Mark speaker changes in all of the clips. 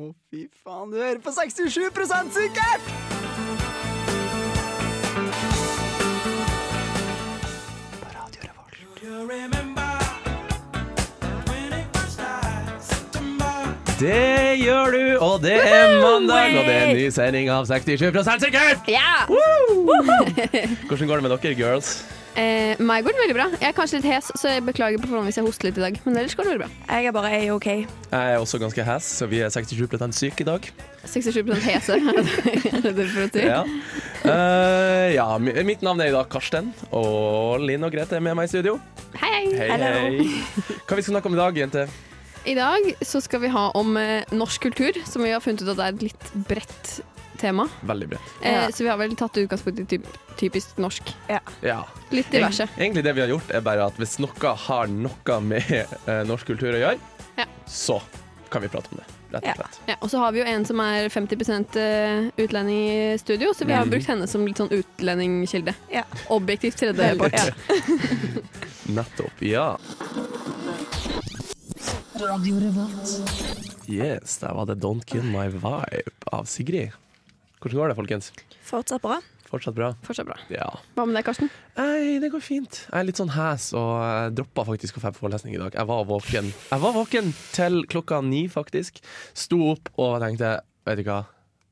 Speaker 1: Å, fy faen, du hører på 67 sikkert! På Radio Revolt.
Speaker 2: Det gjør du, og det er mandag, og det er en ny sending av 67 sikkert!
Speaker 3: Ja!
Speaker 2: Hvordan går det med dere, girls?
Speaker 3: Eh, meg går det veldig bra. Jeg er kanskje litt hes, så jeg beklager på forhånd hvis jeg hoster litt i dag. Men ellers går det veldig bra.
Speaker 4: Jeg er bare A-OK.
Speaker 2: Jeg er også ganske hes, så vi er 67 syke i dag.
Speaker 3: 67 hese. er det det for å si?
Speaker 2: Ja. Eh, ja, mi- mitt navn er i dag Karsten, og Linn og Grete er med meg i studio.
Speaker 3: Hei, hei.
Speaker 2: Hei,
Speaker 4: Hello.
Speaker 2: hei. Hva vi skal snakke om i dag, jente?
Speaker 3: I dag så skal vi ha om eh, norsk kultur, som vi har funnet ut at er et litt bredt tema.
Speaker 2: Veldig bredt.
Speaker 3: Eh,
Speaker 4: Ja.
Speaker 3: Så vi har vel tatt utgangspunkt i typ, typisk norsk.
Speaker 2: Ja.
Speaker 3: Litt diverse.
Speaker 2: Egent- Egentlig det vi har gjort er bare at hvis noe har noe med eh, norsk kultur å gjøre,
Speaker 3: Ja.
Speaker 2: så kan vi prate om det, rett
Speaker 4: Ja.
Speaker 2: og slett.
Speaker 3: Ja, og så har vi jo en som er 50 eh, utlending i studio, så vi
Speaker 2: Mm.
Speaker 3: har brukt henne som litt sånn utlendingkilde.
Speaker 4: Ja.
Speaker 3: Objektivt tredjepart.
Speaker 4: Ja.
Speaker 2: Nettopp, ja. Yes, der var det Don't Kill My Vibe av Sigrid. Hvordan går det, folkens?
Speaker 4: Fortsatt bra.
Speaker 2: Fortsatt bra?
Speaker 3: Fortsatt bra.
Speaker 2: Ja.
Speaker 3: Hva med deg, Karsten?
Speaker 2: Nei, det går fint. Jeg er litt sånn hes og jeg droppa faktisk å få forelesning i dag. Jeg var våken Jeg var våken til klokka ni, faktisk. Sto opp og tenkte Vet du hva,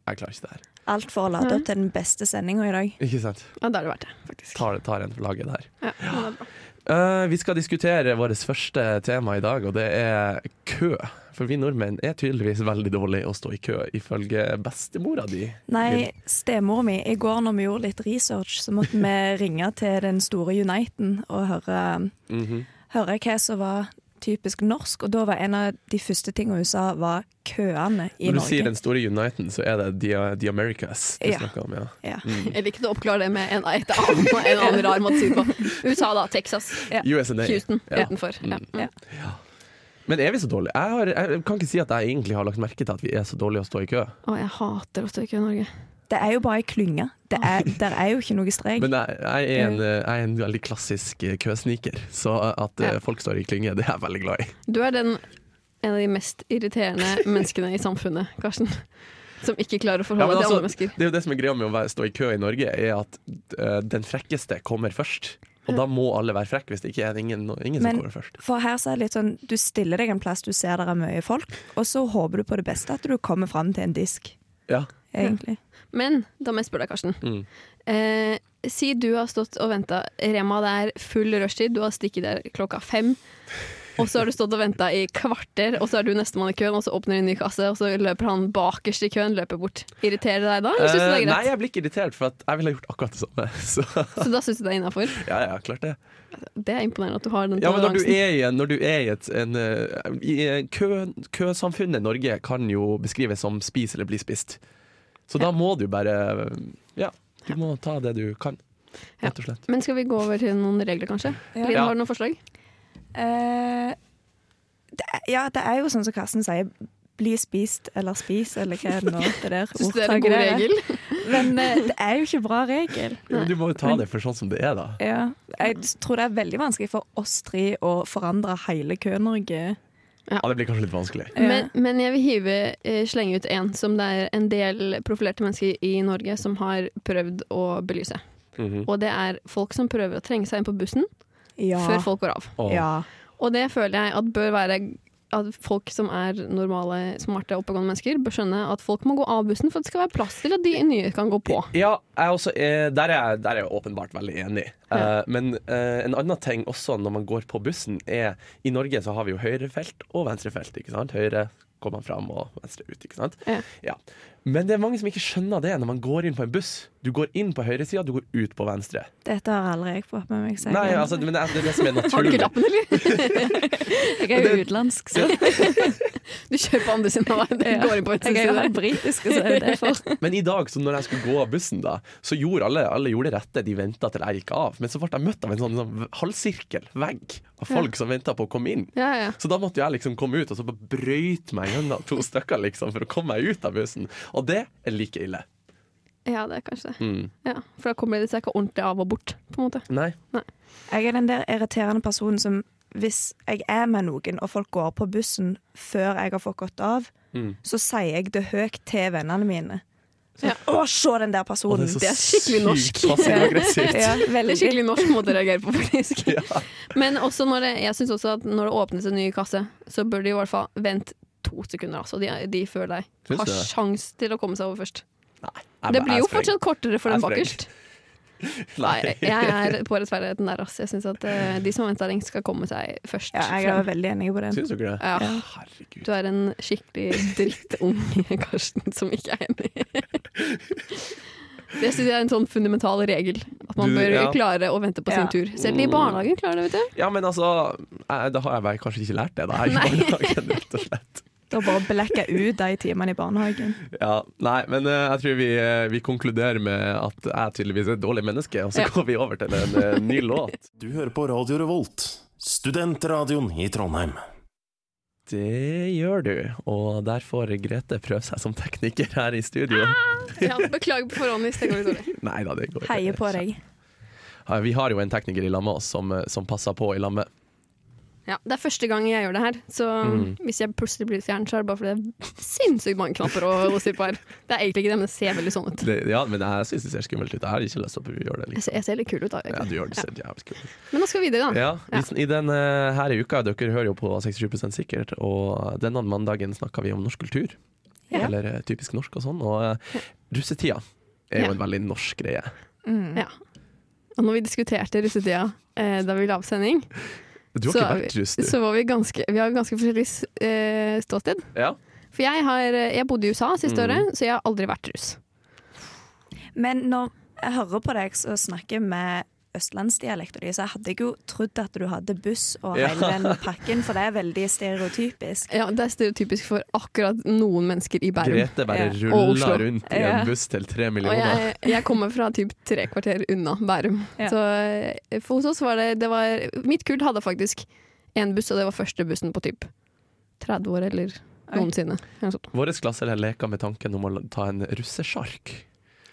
Speaker 2: jeg klarer ikke det her.
Speaker 4: Alt for å lade opp til den beste sendinga i dag.
Speaker 2: Ikke sant?
Speaker 3: Ja, da er det verdt det, faktisk.
Speaker 2: Tar, tar en for laget der.
Speaker 3: Ja, men det er bra.
Speaker 2: Eh, vi skal diskutere vårt første tema i dag, og det er kø. For vi nordmenn er tydeligvis veldig dårlige å stå i kø, ifølge bestemora di.
Speaker 4: Nei, stemora mi. I går når vi gjorde litt research, så måtte vi ringe til den store Uniten og høre,
Speaker 2: Mhm.
Speaker 4: høre hva som var typisk norsk. Og da var en av de første tingene hun sa, var køene i
Speaker 2: Når du
Speaker 4: Norge.
Speaker 2: sier den store Uniten, så er det The, the Americas du
Speaker 4: Ja.
Speaker 2: snakker om, ja.
Speaker 4: Ja.
Speaker 3: Jeg liker å oppklare det med en, et annet, en annen rar måte å si det på. USA, da. Texas.
Speaker 4: Ja.
Speaker 2: USA.
Speaker 3: Houston
Speaker 2: Ja.
Speaker 3: utenfor. Ja.
Speaker 2: Mm. Men er vi så dårlige? Jeg, har, jeg kan ikke si at jeg egentlig har lagt merke til at vi er så dårlige å stå i kø.
Speaker 3: Å, jeg hater å støke i Norge.
Speaker 4: Det er jo bare ei klynge. Det er, der er jo ikke noe strek.
Speaker 2: Men jeg, jeg, er, en, eh, jeg er en veldig klassisk eh, køsniker, så at eh,
Speaker 3: Ja.
Speaker 2: folk står i klynge, det er jeg veldig glad i.
Speaker 3: Du er den, en av de mest irriterende menneskene i samfunnet, Karsten. Som ikke klarer å
Speaker 2: Ja,
Speaker 3: forholde seg
Speaker 2: men
Speaker 3: til
Speaker 2: altså,
Speaker 3: andre mennesker.
Speaker 2: det er jo det som er greia med å være, stå i kø i Norge, er at eh, den frekkeste kommer først. Og da må alle være frekke, hvis det ikke er ingen, ingen
Speaker 4: Men-
Speaker 2: som kommer først.
Speaker 4: For her så er det litt sånn, Du stiller deg en plass du ser der er mye folk, og så håper du på det beste at du kommer fram til en disk.
Speaker 2: Ja.
Speaker 4: egentlig.
Speaker 3: Men da må jeg spørre deg, Karsten.
Speaker 2: Mm.
Speaker 3: Eh, si du har stått og venta. Rema, det er full rushtid. Du har stikket der klokka fem. Og så har du stått og venta i kvarter, og så er du nestemann i køen, og så åpner de en ny kasse, og så løper han bakerst i køen, løper bort. Irriterer det deg da? Eller synes du det
Speaker 2: Eh,
Speaker 3: er
Speaker 2: nei,
Speaker 3: greit?
Speaker 2: jeg blir ikke irritert, for at jeg ville gjort akkurat det samme. Så
Speaker 3: Så da syns du det er innafor?
Speaker 2: ja, ja, klart det.
Speaker 3: Det er imponerende at du har den
Speaker 2: Ja, men når du
Speaker 3: toleransen.
Speaker 2: er i, en- når du er i et en, eh, i, eh, kø, Køsamfunnet Norge kan jo beskrives som spis eller bli spist. Så da må du bare Ja, du må ta det du kan,
Speaker 3: Ja.
Speaker 2: rett og slett.
Speaker 3: Men skal vi gå over til noen regler, kanskje?
Speaker 4: Ja.
Speaker 3: Linn,
Speaker 2: Ja.
Speaker 3: har du noen forslag?
Speaker 4: Eh, det, er- ja, det er jo sånn som Karsten sier. Bli spist eller spis, eller hva er det nå det der
Speaker 3: Syns du det er en god
Speaker 4: ordtaket er?
Speaker 3: regel?
Speaker 4: Men eh, det er jo ikke bra regel.
Speaker 2: Men Du må jo ta det for sånn som det er, da.
Speaker 4: Ja. Jeg tror det er veldig vanskelig for oss tre å forandre hele Kø-Norge.
Speaker 2: Ja, det blir kanskje litt vanskelig.
Speaker 4: Ja.
Speaker 3: Men, men jeg vil hive, eh, slenge ut en som det er en del profilerte mennesker i Norge som har prøvd å belyse.
Speaker 2: Mhm.
Speaker 3: Og det er folk som prøver å trenge seg inn på bussen
Speaker 4: Eh, Ja.
Speaker 3: før folk går av.
Speaker 2: Åh.
Speaker 4: Ja.
Speaker 3: Og det føler jeg at bør være at folk som er normale, smarte, oppegående mennesker, bør skjønne at folk må gå av bussen for at det skal være plass til at de nye kan gå på.
Speaker 2: Ja, jeg er også, eh, der, er, jeg- der er jeg åpenbart veldig enig. Eh, men eh, en annen ting også når man går på bussen, er I Norge så har vi jo høyrefelt og venstrefelt. ikke sant? Høyre går man fram og venstre ut. ikke sant?
Speaker 3: Ja.
Speaker 2: Men det er mange som ikke skjønner det når man går inn på en buss. Du går inn på høyresida, du går ut på venstre.
Speaker 4: Dette har aldri jeg fått med meg. så jeg-
Speaker 2: Nei, altså, men det er det er det som er
Speaker 3: Har du
Speaker 2: naturlig.
Speaker 3: ikke lappen, eller?
Speaker 4: jeg er jo utenlandsk, så
Speaker 3: Du kjører på andre siden av veien.
Speaker 4: Ja.
Speaker 3: Går inn på
Speaker 4: jeg er jo
Speaker 3: utsiden.
Speaker 4: halvt britisk, så det er derfor.
Speaker 2: Men i dag, så når jeg skulle gå av bussen, da, så gjorde alle, alle gjorde det rette. De venta til jeg gikk av. Men så ble jeg møtt av en sånn, sånn halvsirkel, vegg, av folk som venta på å komme inn.
Speaker 3: Ja, ja.
Speaker 2: Så da måtte jeg liksom komme ut og så bare brøyte meg gjennom to stykker liksom, for å komme meg ut av bussen. Og det er like ille.
Speaker 3: ja, det er kanskje det.
Speaker 2: Mm.
Speaker 3: Ja, for da kommer de seg ikke ordentlig av og bort, på en måte.
Speaker 2: Nei.
Speaker 4: Jeg er den der irriterende personen som hvis jeg er med noen og folk går på bussen før jeg har fått gått av,
Speaker 2: Mm.
Speaker 4: så sier jeg det høyt til vennene mine. Så,
Speaker 3: Ja.
Speaker 4: Å, se den der personen!
Speaker 2: så
Speaker 3: Det er skikkelig norsk.
Speaker 2: sykt passiv-aggressivt.
Speaker 4: ja,
Speaker 3: Det
Speaker 4: veldig.
Speaker 3: er skikkelig norsk måte å reagere på, faktisk.
Speaker 2: Ja.
Speaker 3: Men også når det, jeg synes også at når det åpnes en ny kasse, så bør de i hvert fall vente to sekunder, altså. De, de før deg.
Speaker 2: Syns
Speaker 3: Har
Speaker 2: du det?
Speaker 3: sjans til å komme seg over først.
Speaker 2: Nei, jeg
Speaker 3: Det
Speaker 2: bare-
Speaker 3: blir
Speaker 2: jeg
Speaker 3: jo
Speaker 2: spreng.
Speaker 3: fortsatt kortere for den
Speaker 2: Jeg
Speaker 3: bakerst.
Speaker 2: Nei.
Speaker 3: Nei, jeg er på rettferdigheten der, ass. Jeg syns at eh, de som har venta lengst, skal komme seg først
Speaker 4: Ja, jeg er
Speaker 3: frem.
Speaker 4: veldig enig på den.
Speaker 2: Syns dere det?
Speaker 3: Ja.
Speaker 2: Herregud.
Speaker 3: Du er en skikkelig drittunge, Karsten, som ikke er enig. Det syns jeg er en sånn fundamental regel. At man
Speaker 2: Du-
Speaker 3: bør
Speaker 2: ja. Mm.
Speaker 3: klare å vente på sin
Speaker 4: Ja.
Speaker 3: tur. Selv de i barnehagen klarer det, vet du.
Speaker 2: Ja, men altså jeg, Da har jeg bare kanskje ikke lært det, da. Jeg
Speaker 3: Nei.
Speaker 2: i barnehagen, rett og slett.
Speaker 4: Da bare blacka ut de timene i barnehagen.
Speaker 2: Ja, nei, men eh, jeg tror vi, eh, vi konkluderer med at jeg tydeligvis er et dårlig menneske, og så
Speaker 3: Ja.
Speaker 2: går vi over til en eh, ny låt.
Speaker 5: Du hører på Radio Revolt, studentradioen i Trondheim.
Speaker 2: Det gjør du, og der får Grete prøve seg som tekniker her i studio.
Speaker 3: Ah! Ja, beklager på forhånd hvis det går litt dårlig.
Speaker 2: Nei da, det går ikke.
Speaker 4: Heier på deg.
Speaker 2: Ja, Vi har jo en tekniker i lag med oss som, eh, som passer på i lag med
Speaker 3: Ja, det er første gang jeg gjør det her, så
Speaker 2: Mm.
Speaker 3: hvis jeg plutselig blir stjerne, så er det bare fordi det er sinnssykt mange knapper å, å si på her. Det er egentlig ikke det, men det ser veldig sånn ut.
Speaker 2: det, Ja, men jeg syns det ser skummelt ut. Jeg har ikke lyst til at vi gjør det.
Speaker 3: Jeg
Speaker 2: Liksom.
Speaker 3: ser, jeg ser litt kul ut, da.
Speaker 2: Ja,
Speaker 3: Jakob.
Speaker 2: du gjør det så jævlig skummelt.
Speaker 3: Men nå skal vi videre, da.
Speaker 2: Ja, hvis- i den eh, her i uka, dere hører jo på 67 sikkert, og denne mandagen snakka vi om norsk kultur.
Speaker 4: Ja.
Speaker 2: Eller eh, typisk norsk og sånn. Og eh, russetida er jo
Speaker 3: Ja.
Speaker 2: en veldig norsk greie.
Speaker 4: Mm.
Speaker 3: Og når vi diskuterte russetida eh, da vi la opp sending,
Speaker 2: Du har
Speaker 3: så,
Speaker 2: ikke
Speaker 3: er
Speaker 2: vært russ,
Speaker 3: vi,
Speaker 2: du?
Speaker 3: så var vi ganske, vi har ganske forskjellig s- eh, ståsted.
Speaker 2: Ja.
Speaker 3: For jeg, har, eh, jeg bodde i USA siste
Speaker 2: Mm.
Speaker 3: året, så jeg har aldri vært russ.
Speaker 4: Men når jeg hører på deg og snakker med østlandsdialekten din, så hadde jeg jo trodd at du hadde buss og
Speaker 2: Ja.
Speaker 4: hele den pakken, for det er veldig stereotypisk.
Speaker 3: Ja, det er stereotypisk for akkurat noen mennesker i Bærum.
Speaker 2: Grete bare
Speaker 4: Ja.
Speaker 3: Og
Speaker 2: rulla
Speaker 3: Oslo.
Speaker 2: rundt i
Speaker 4: Ja.
Speaker 2: en buss til tre
Speaker 3: Og
Speaker 2: millioner.
Speaker 3: jeg, jeg kommer fra typ tre kvarter unna Bærum.
Speaker 4: Ja.
Speaker 3: Så eh, for hos oss var det, det var Mitt kull hadde faktisk én buss, og det var første bussen på typ 30 år eller noensinne. Eller noe sånt.
Speaker 2: Vår klasse leka med tanken om å la- ta en russesjark.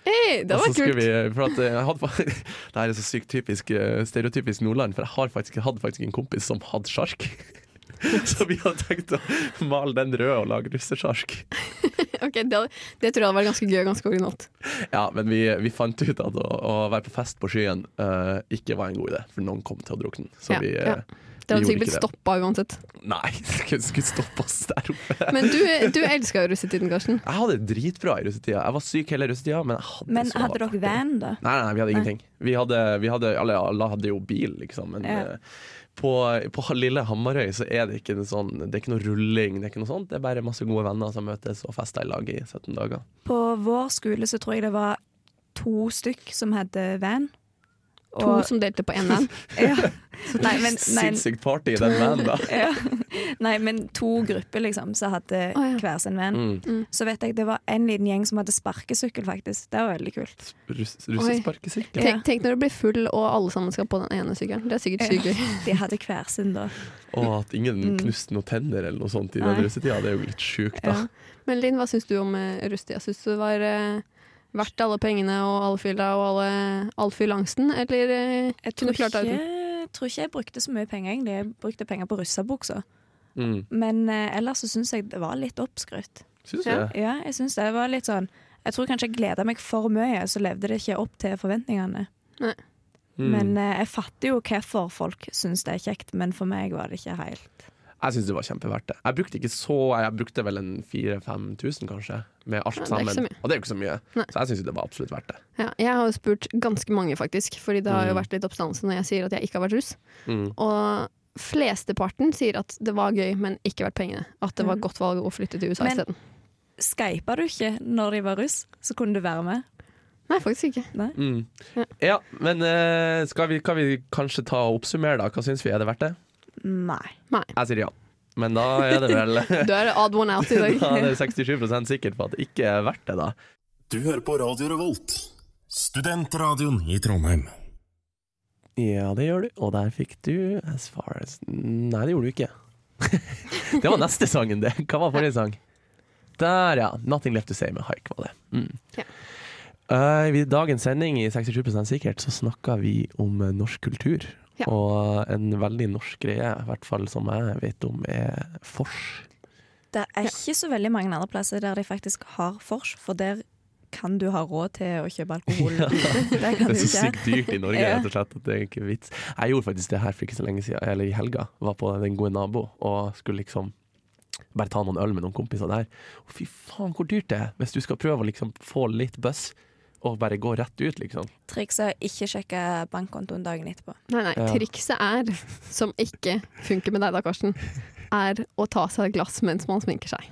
Speaker 3: Hey, det
Speaker 2: Og
Speaker 3: var
Speaker 2: så skulle
Speaker 3: kult!
Speaker 2: Vi, for at, eh, jeg hadde, fa- det her er så sykt typisk, eh, stereotypisk Nordland, for jeg har faktisk, hadde faktisk en kompis som hadde sjark. Så vi hadde tenkt å male den rød og lage russesjark.
Speaker 3: Ok, det, det tror jeg hadde vært ganske gøy og ganske originalt.
Speaker 2: Ja, men vi, vi fant ut at å, å være på fest på skyen eh, ikke var en god idé, for noen kom til å drukne. Så
Speaker 3: Ja,
Speaker 2: vi
Speaker 3: ja.
Speaker 2: eh,
Speaker 3: Det hadde
Speaker 2: Vi
Speaker 3: sikkert
Speaker 2: gjorde
Speaker 3: blitt
Speaker 2: ikke det.
Speaker 3: stoppa uansett.
Speaker 2: Nei, skulle, skulle stoppe oss der oppe.
Speaker 3: Men du, du elska jo russetiden, Karsten.
Speaker 2: Jeg hadde det dritbra i russetida. Jeg var syk hele russetida, men jeg hadde
Speaker 4: Men
Speaker 2: så
Speaker 4: hadde dere
Speaker 2: artig.
Speaker 4: van, da?
Speaker 2: Nei, nei, vi hadde ingenting. Vi hadde, vi hadde, alle, alle hadde jo bil, liksom. Men
Speaker 4: Ja.
Speaker 2: eh, på, på lille Hamarøy så er det ikke, en sånn, det er ikke noe rulling, det er ikke noe sånt. Det er bare masse gode venner som møtes og fester i lag i 17 dager.
Speaker 4: På vår skole så tror jeg det var to stykk som hadde van.
Speaker 3: To som delte på én van.
Speaker 4: ja. nei, men, nei,
Speaker 2: Sinnssykt party i den vanen, da.
Speaker 4: ja. nei, men to grupper, liksom, som hadde
Speaker 3: Å, ja.
Speaker 4: hver sin van.
Speaker 2: Mm.
Speaker 4: Så vet jeg det var en liten gjeng som hadde sparkesykkel, faktisk. Det var veldig kult.
Speaker 2: Russ, russesparkesykkel.
Speaker 3: Tenk, tenk når du blir full og alle sammen skal på den ene sykkelen. Det er sikkert sykt gøy.
Speaker 4: De hadde hver sin, da.
Speaker 2: Og at ingen knuste noen tenner eller noe sånt i den
Speaker 4: Nei.
Speaker 2: russetida, det er jo litt sjukt, da.
Speaker 4: Ja.
Speaker 3: Men Linn, hva syns du om eh, russetida? Syns du det var eh, verdt alle pengene og all fylla og alle, all fyllangsten, eller eh,
Speaker 4: Jeg tror
Speaker 3: kunne du klart
Speaker 4: ikke,
Speaker 3: deg uten?
Speaker 4: tror ikke jeg brukte så mye penger, egentlig. Jeg brukte penger på russebuksa.
Speaker 2: Mm.
Speaker 4: Men eh, ellers så syns jeg det var litt oppskrytt.
Speaker 2: Syns du
Speaker 3: Ja.
Speaker 2: det?
Speaker 4: Ja, jeg syns det var litt sånn Jeg tror kanskje jeg gleda meg for mye, så levde det ikke opp til forventningene.
Speaker 2: Mm.
Speaker 4: Men eh, jeg fatter jo hvorfor folk syns det er kjekt, men for meg var det ikke helt
Speaker 2: Jeg syns det var kjempeverdt det. Jeg brukte ikke så Jeg brukte vel en 4000-5000, kanskje, med alt
Speaker 3: Ja, det er ikke
Speaker 2: sammen.
Speaker 3: så mye.
Speaker 2: Og det er jo ikke så mye,
Speaker 3: Nei.
Speaker 2: så jeg syns det var absolutt verdt det.
Speaker 3: Ja, jeg har jo spurt ganske mange, faktisk, fordi det har jo
Speaker 2: Mm.
Speaker 3: vært litt oppstandelse når jeg sier at jeg ikke har vært russ.
Speaker 2: Mm.
Speaker 3: Og flesteparten sier at det var gøy, men ikke verdt pengene. At det var
Speaker 4: Mm.
Speaker 3: godt valg å flytte til USA
Speaker 4: Men-
Speaker 3: isteden.
Speaker 4: Skypa du ikke når de var russ, så kunne du være med?
Speaker 3: Nei, faktisk ikke.
Speaker 2: Mm.
Speaker 3: Ja.
Speaker 2: Ja, men eh, skal vi, kan vi kanskje ta og oppsummere, da? Hva syns vi? Er det verdt det?
Speaker 4: Nei.
Speaker 2: Jeg sier ja. Men da er det vel
Speaker 3: Du er odd one out i dag.
Speaker 2: Da er det 67 sikkert på at det ikke er verdt det, da.
Speaker 5: Du hører på Radio Revolt, studentradioen i Trondheim.
Speaker 2: Ja, det gjør du. Og der fikk du As Far As Nei, det gjorde du ikke. det var neste sangen, det. Hva var forrige sang? Der, ja. 'Nothing Left To Say' med Haik var det. Mm.
Speaker 3: Ja.
Speaker 2: Eh, I dagens sending i 67 sikkert så snakka vi om eh, norsk kultur. eh,
Speaker 3: Ja.
Speaker 2: Og en veldig norsk greie, i hvert fall som jeg vet om, er fors.
Speaker 4: Det er ikke så veldig mange andre plasser der de faktisk har vors, for der kan du ha råd til å kjøpe alkohol. Det
Speaker 2: Det
Speaker 4: kan du
Speaker 2: er så
Speaker 4: ikke.
Speaker 2: sykt dyrt i Norge,
Speaker 4: Ja.
Speaker 2: rett og slett. At det er ikke vits. Jeg gjorde faktisk det her for ikke så lenge siden, eller i helga. Var på Den gode nabo og skulle liksom bare ta noen øl med noen kompiser der. Og fy faen, hvor dyrt det er hvis du skal prøve å liksom få litt buss og bare gå rett ut, liksom.
Speaker 4: Trikset er å ikke sjekke bankkontoen dagen etterpå.
Speaker 3: Nei, nei.
Speaker 2: Ja.
Speaker 3: Trikset er, som ikke funker med deg da, Karsten, er å ta seg et glass mens man sminker seg.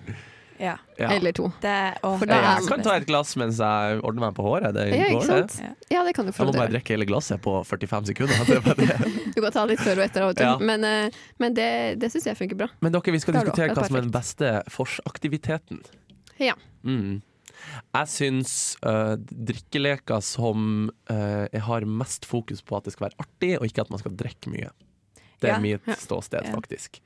Speaker 4: Ja.
Speaker 2: Ja.
Speaker 3: Eller to.
Speaker 4: Det, å,
Speaker 3: For da
Speaker 4: det er
Speaker 3: er
Speaker 2: jeg
Speaker 4: det
Speaker 2: kan
Speaker 4: beste.
Speaker 2: ta et glass mens jeg ordner meg på håret. Det
Speaker 3: Ja, ikke
Speaker 2: går, det.
Speaker 3: sant? Ja, det kan du
Speaker 2: Jeg må
Speaker 3: forholde
Speaker 2: bare
Speaker 3: deg
Speaker 2: drikke hele glasset på 45 sekunder. Det er bare det.
Speaker 3: Du kan ta litt før og etter, av og til.
Speaker 2: Ja.
Speaker 3: men, eh, men det, det syns jeg funker bra.
Speaker 2: Men dere, vi skal
Speaker 3: Da er det
Speaker 2: diskutere hva
Speaker 3: akkurat
Speaker 2: som er den beste forsaktiviteten.
Speaker 3: Ja.
Speaker 2: Mm. Jeg syns øh, drikkeleker som øh, jeg har mest fokus på at det skal være artig, og ikke at man skal drikke mye. Det er
Speaker 4: Ja.
Speaker 2: mitt
Speaker 3: Ja.
Speaker 2: ståsted,
Speaker 4: Ja.
Speaker 2: faktisk.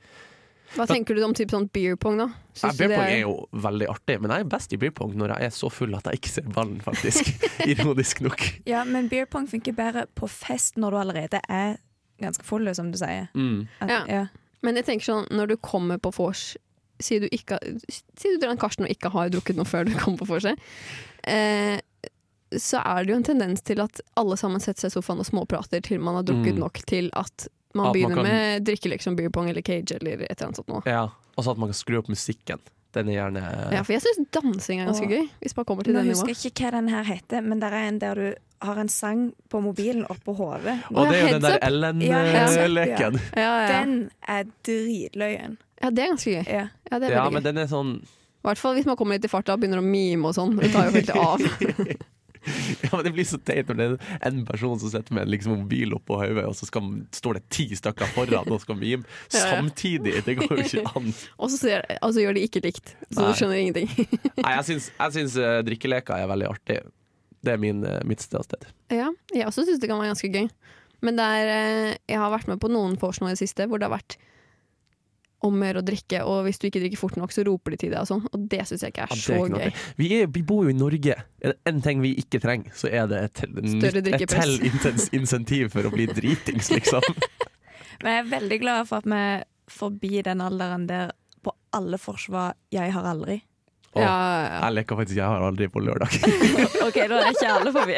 Speaker 3: Hva tenker du om typ sånn beer pong, da?
Speaker 2: Ja,
Speaker 3: Syns du
Speaker 2: beer
Speaker 3: det
Speaker 2: pong er jo veldig artig, men jeg er best i beer pong når jeg er så full at jeg ikke ser ballen, faktisk. Ironisk nok.
Speaker 4: Ja, men beer pong funker bedre på fest når du allerede er ganske full, som du sier.
Speaker 2: Mm.
Speaker 4: At,
Speaker 3: Ja. Men jeg tenker sånn, når du kommer på vors Sier du, ikke, sier du drar en Karsten og ikke har drukket noe før du kommer på vorset, eh, så er det jo en tendens til at alle sammen setter seg i sofaen og småprater til man har drukket
Speaker 2: Mm.
Speaker 3: nok til at man
Speaker 2: At man
Speaker 3: begynner
Speaker 2: kan-
Speaker 3: med drikke liksom beer pong eller cage eller et eller annet sånt noe.
Speaker 2: Ja. Og så at man kan skru opp musikken. Den er gjerne
Speaker 3: Ja, for jeg syns dansing er ganske
Speaker 4: Åh.
Speaker 3: gøy, hvis man kommer til
Speaker 4: Nå
Speaker 3: det
Speaker 4: husker
Speaker 3: nivået.
Speaker 4: jeg ikke hva den her heter, men det er en der du har en sang på mobilen oppå hodet.
Speaker 2: Og det er jo
Speaker 3: Heads
Speaker 2: den der
Speaker 3: up.
Speaker 4: Ja, heads up, ja.
Speaker 2: Ellen-leken.
Speaker 3: Ja, ja.
Speaker 4: Den er dritløyen.
Speaker 3: ja, det er ganske gøy.
Speaker 4: Ja.
Speaker 3: Ja, det er
Speaker 2: Ja,
Speaker 3: veldig
Speaker 2: men
Speaker 3: gøy.
Speaker 2: den er sånn
Speaker 3: I hvert fall hvis man kommer litt i farta og begynner å mime og sånn. Det tar jo helt av.
Speaker 2: Ja, men Det blir så teit når det er en person som sitter med en liksom, mobil oppå hodet, og så skal, står det ti stykker foran og skal mime
Speaker 3: Ja, ja.
Speaker 2: samtidig. Det går jo ikke an.
Speaker 3: Og så ser, altså, gjør de ikke likt, så
Speaker 2: Nei.
Speaker 3: du skjønner ingenting.
Speaker 2: Nei, Jeg syns, jeg syns eh, drikkeleker er veldig artig. Det er min, eh, mitt ståsted.
Speaker 3: Ja, jeg også syns det kan være ganske gøy. Men det er, eh, jeg har vært med på noen vors nå i det siste hvor det har vært om mer å drikke, og hvis du ikke drikker fort nok, så roper de til deg og sånn. Og det syns jeg ikke er
Speaker 2: Ja, det er
Speaker 3: så
Speaker 2: ikke noe
Speaker 3: gøy.
Speaker 2: Vi, er, vi bor jo i Norge. Er det én ting vi ikke trenger, så er det et, nytt- et
Speaker 3: drikkepress.
Speaker 2: til intens insentiv for å bli dritings, liksom.
Speaker 4: Men jeg er veldig glad for at vi er forbi den alderen der på alle vors var 'jeg har aldri'.
Speaker 2: Åh,
Speaker 3: Ja, ja, ja.
Speaker 2: Jeg leker faktisk 'jeg har aldri' på lørdag.
Speaker 4: OK, da er ikke alle forbi.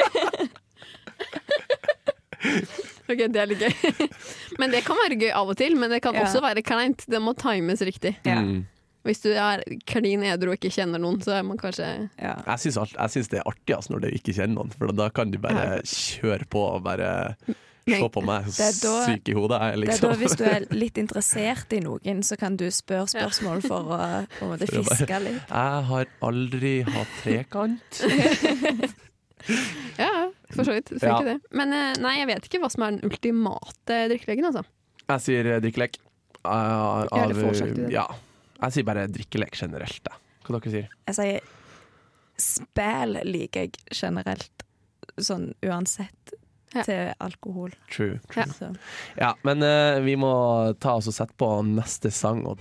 Speaker 3: Ok, det er litt gøy. men det kan være gøy av og til, men det kan
Speaker 4: Ja.
Speaker 3: også være kleint. Det må times riktig.
Speaker 4: Ja.
Speaker 2: Mm.
Speaker 3: Hvis du er klin edru og ikke kjenner noen, så er man kanskje
Speaker 4: Ja.
Speaker 2: Jeg syns, alt, jeg syns det er artigst når du ikke kjenner noen, for da kan du bare kjøre på og bare se
Speaker 3: Men
Speaker 2: på meg
Speaker 4: det er da-
Speaker 2: syk i hodet. Jeg, er
Speaker 4: Det er
Speaker 2: liksom.
Speaker 4: da Hvis du er litt interessert i noen, så kan du spørre spørsmål for å på en måte
Speaker 2: For å bare-
Speaker 4: fiske litt.
Speaker 2: jeg har aldri hatt trekant.
Speaker 3: Ja, ja, for så vidt. Funker
Speaker 2: Ja.
Speaker 3: det. Men eh, nei, jeg vet ikke hva som er den ultimate drikkelegen, altså.
Speaker 2: Jeg sier eh, drikkelek. Eh,
Speaker 3: eller
Speaker 2: av-
Speaker 3: forslag,
Speaker 2: ja. Jeg sier bare drikkelek generelt, da. Hva dere sier
Speaker 4: Jeg sier spill liker jeg generelt, sånn uansett,
Speaker 3: Ja.
Speaker 4: til alkohol.
Speaker 2: True.
Speaker 3: Ja.
Speaker 4: Så.
Speaker 2: Ja, men eh, vi må ta oss og sette på neste sang. Og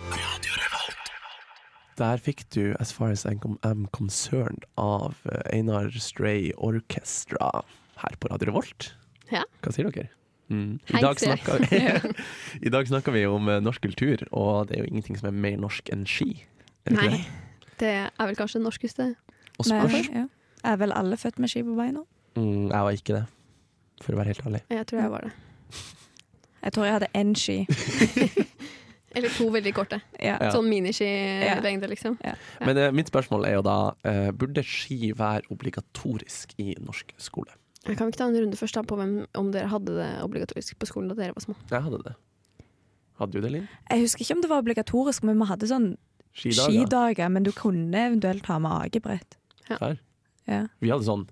Speaker 2: der fikk du As Far As I'm Con- I'm Concerned av eh, Einar Stray Orchestra her på Radio Revolt.
Speaker 3: Ja.
Speaker 2: Hva sier dere? Mm. I,
Speaker 3: Hei,
Speaker 2: dag
Speaker 3: sier jeg.
Speaker 2: snakker vi, I dag snakker vi om eh, norsk kultur, og det er jo ingenting som er mer norsk enn ski. Er det ikke
Speaker 3: Nei.
Speaker 2: det?
Speaker 3: Det er vel kanskje det norskeste.
Speaker 2: Og
Speaker 4: Men,
Speaker 2: spørs.
Speaker 4: ja. Er vel alle født med ski på beina?
Speaker 2: Mm, jeg var ikke det, for å være helt ærlig.
Speaker 3: Jeg tror jeg var det.
Speaker 4: Jeg tror jeg hadde én ski.
Speaker 3: Eller to veldig korte.
Speaker 4: Ja.
Speaker 2: Ja.
Speaker 3: Sånn miniskilengde, liksom. Ja.
Speaker 2: Men eh, mitt spørsmål er jo da, eh, burde ski være obligatorisk i norsk skole?
Speaker 3: Jeg kan vi ikke ta en runde først da på hvem, om dere hadde det obligatorisk på skolen da dere var små?
Speaker 2: Jeg hadde det. Hadde du det, Linn?
Speaker 4: Jeg husker ikke om det var obligatorisk, men vi hadde sånn
Speaker 2: Skidager.
Speaker 4: skidager. Men du kunne eventuelt ha med akebrett.
Speaker 2: Der.
Speaker 4: Ja.
Speaker 2: Vi hadde sånn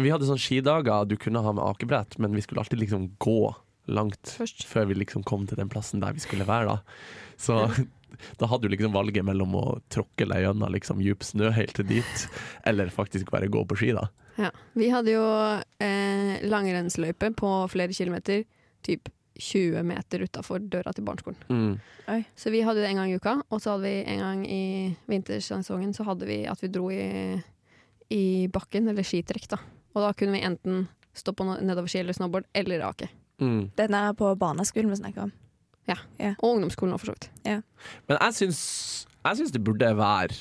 Speaker 2: vi hadde sånn skidager du kunne ha med akebrett, men vi skulle alltid liksom gå langt
Speaker 3: Først.
Speaker 2: før vi liksom kom til den plassen der vi skulle være. da Så da hadde du liksom valget mellom å tråkke deg gjennom liksom djup snø helt til dit, eller faktisk bare gå på ski. da
Speaker 3: Ja. Vi hadde jo eh, langrennsløype på flere kilometer, typ 20 meter utafor døra til barneskolen. Så vi hadde det en gang i uka, og så hadde vi en gang i vintersesongen så hadde vi at vi dro i, i bakken, eller skitrekk, da. Og da kunne vi enten stå på no- nedoverski eller snowboard eller ake.
Speaker 2: Mm.
Speaker 4: Den er på barneskolen vi snakker om.
Speaker 3: Og ungdomsskolen òg, for så vidt.
Speaker 2: Men jeg syns Jeg syns det burde være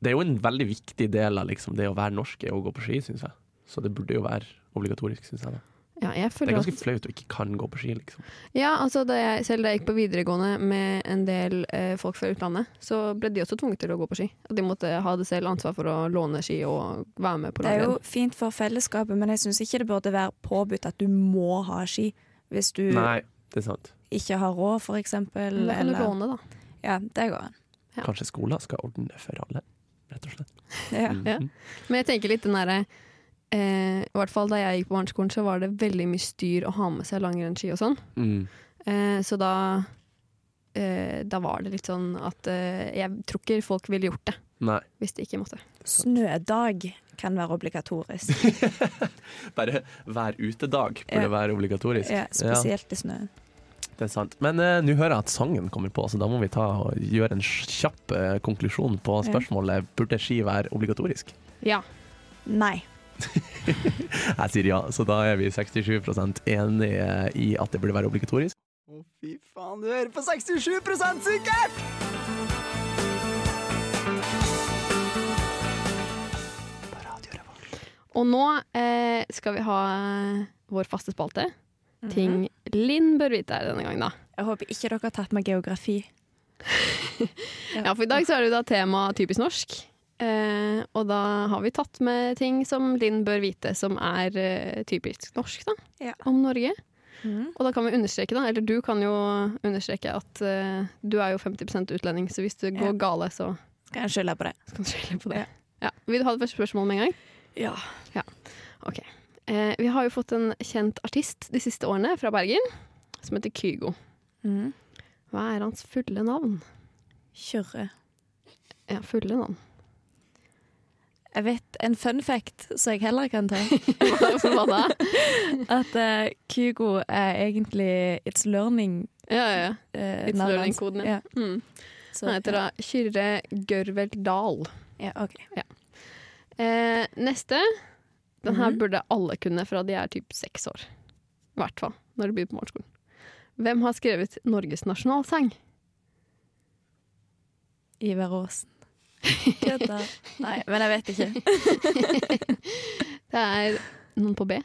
Speaker 2: Det er jo en veldig viktig del av liksom, det å være norsk, er å gå på ski, syns jeg. Så det burde jo være obligatorisk, syns jeg. da.
Speaker 3: Ja, jeg
Speaker 2: Det er
Speaker 3: føler
Speaker 2: ganske
Speaker 3: at
Speaker 2: flaut å ikke kan gå på ski, liksom.
Speaker 3: ja, altså da jeg, Selv da jeg gikk på videregående med en del eh, folk fra utlandet, så ble de også tvunget til å gå på ski. Og de måtte ha det selv ansvar for å låne ski og være med på
Speaker 4: Det er jo
Speaker 3: langrenn.
Speaker 4: fint for fellesskapet, men jeg syns ikke det burde være påbudt at du må ha ski hvis du
Speaker 2: Nei, det er sant.
Speaker 4: ikke har råd, for eksempel.
Speaker 3: Men Da kan du
Speaker 4: eller-
Speaker 3: låne, da.
Speaker 4: Ja, det går an.
Speaker 3: Ja.
Speaker 2: Kanskje skolen skal ordne det for alle, rett og slett. Mm.
Speaker 4: Ja.
Speaker 3: Ja. Men jeg tenker litt den derre eh, I hvert fall da jeg gikk på barneskolen, så var det veldig mye styr å ha med seg langrennsski og sånn.
Speaker 2: Mm.
Speaker 3: Eh, så da eh, Da var det litt sånn at eh, Jeg tror ikke folk ville gjort det
Speaker 2: Nei.
Speaker 3: hvis de ikke måtte.
Speaker 4: Snødag kan være obligatorisk.
Speaker 2: Bare hver utedag burde
Speaker 4: Ja.
Speaker 2: være obligatorisk.
Speaker 4: Ja, spesielt i snøen.
Speaker 2: Ja, det er sant. Men eh, nå hører jeg at sangen kommer på, så da må vi ta og gjøre en kjapp eh, konklusjon på
Speaker 4: Ja.
Speaker 2: spørsmålet burde ski være obligatorisk.
Speaker 3: Ja.
Speaker 4: Nei.
Speaker 2: Jeg sier ja, så da er vi 67 enige i at det burde være obligatorisk.
Speaker 1: Å, fy faen, du hører på 67 sikkert!
Speaker 3: Og nå eh, skal vi ha eh, vår faste spalte. Ting Linn bør vite her denne gangen, da.
Speaker 4: Jeg håper ikke dere har tatt med geografi.
Speaker 3: Ja, for i dag så er det jo da tema typisk norsk. Eh, og da har vi tatt med ting som Linn bør vite som er eh, typisk norsk, da.
Speaker 4: Ja.
Speaker 3: Om Norge. Og da kan vi understreke, da, eller du kan jo understreke at eh, du er jo 50 utlending, så hvis det går
Speaker 4: Ja.
Speaker 3: gale, så
Speaker 4: Skal jeg skylde på det?
Speaker 3: skal du skylde på det. Ja. Vil du ha det første spørsmålet med en gang?
Speaker 4: Ja.
Speaker 3: Ok. Eh, vi har jo fått en kjent artist de siste årene fra Bergen, som heter Kygo.
Speaker 4: Mhm.
Speaker 3: Hva er hans fulle navn?
Speaker 4: Kjøre.
Speaker 3: Ja, fulle navn.
Speaker 4: Jeg vet en fun fact som jeg heller kan ta.
Speaker 3: Hva da?
Speaker 4: At eh, Kygo er egentlig It's Learning.
Speaker 3: Ja, ja, ja.
Speaker 4: eh,
Speaker 3: It's
Speaker 4: navnet hans.
Speaker 3: Learning-koden,
Speaker 4: ja.
Speaker 3: Mm.
Speaker 4: Så-
Speaker 3: Han heter da Kyrre Gørvel Dahl.
Speaker 4: Ja, ok.
Speaker 3: Eh, neste. Den her burde alle kunne fra de er typ seks år. I hvert fall når de begynner på morgenskolen. Hvem har skrevet Norges nasjonalsang?
Speaker 4: Ivar Aasen. Kødda. Nei, men jeg vet ikke.
Speaker 3: Det er noen på B.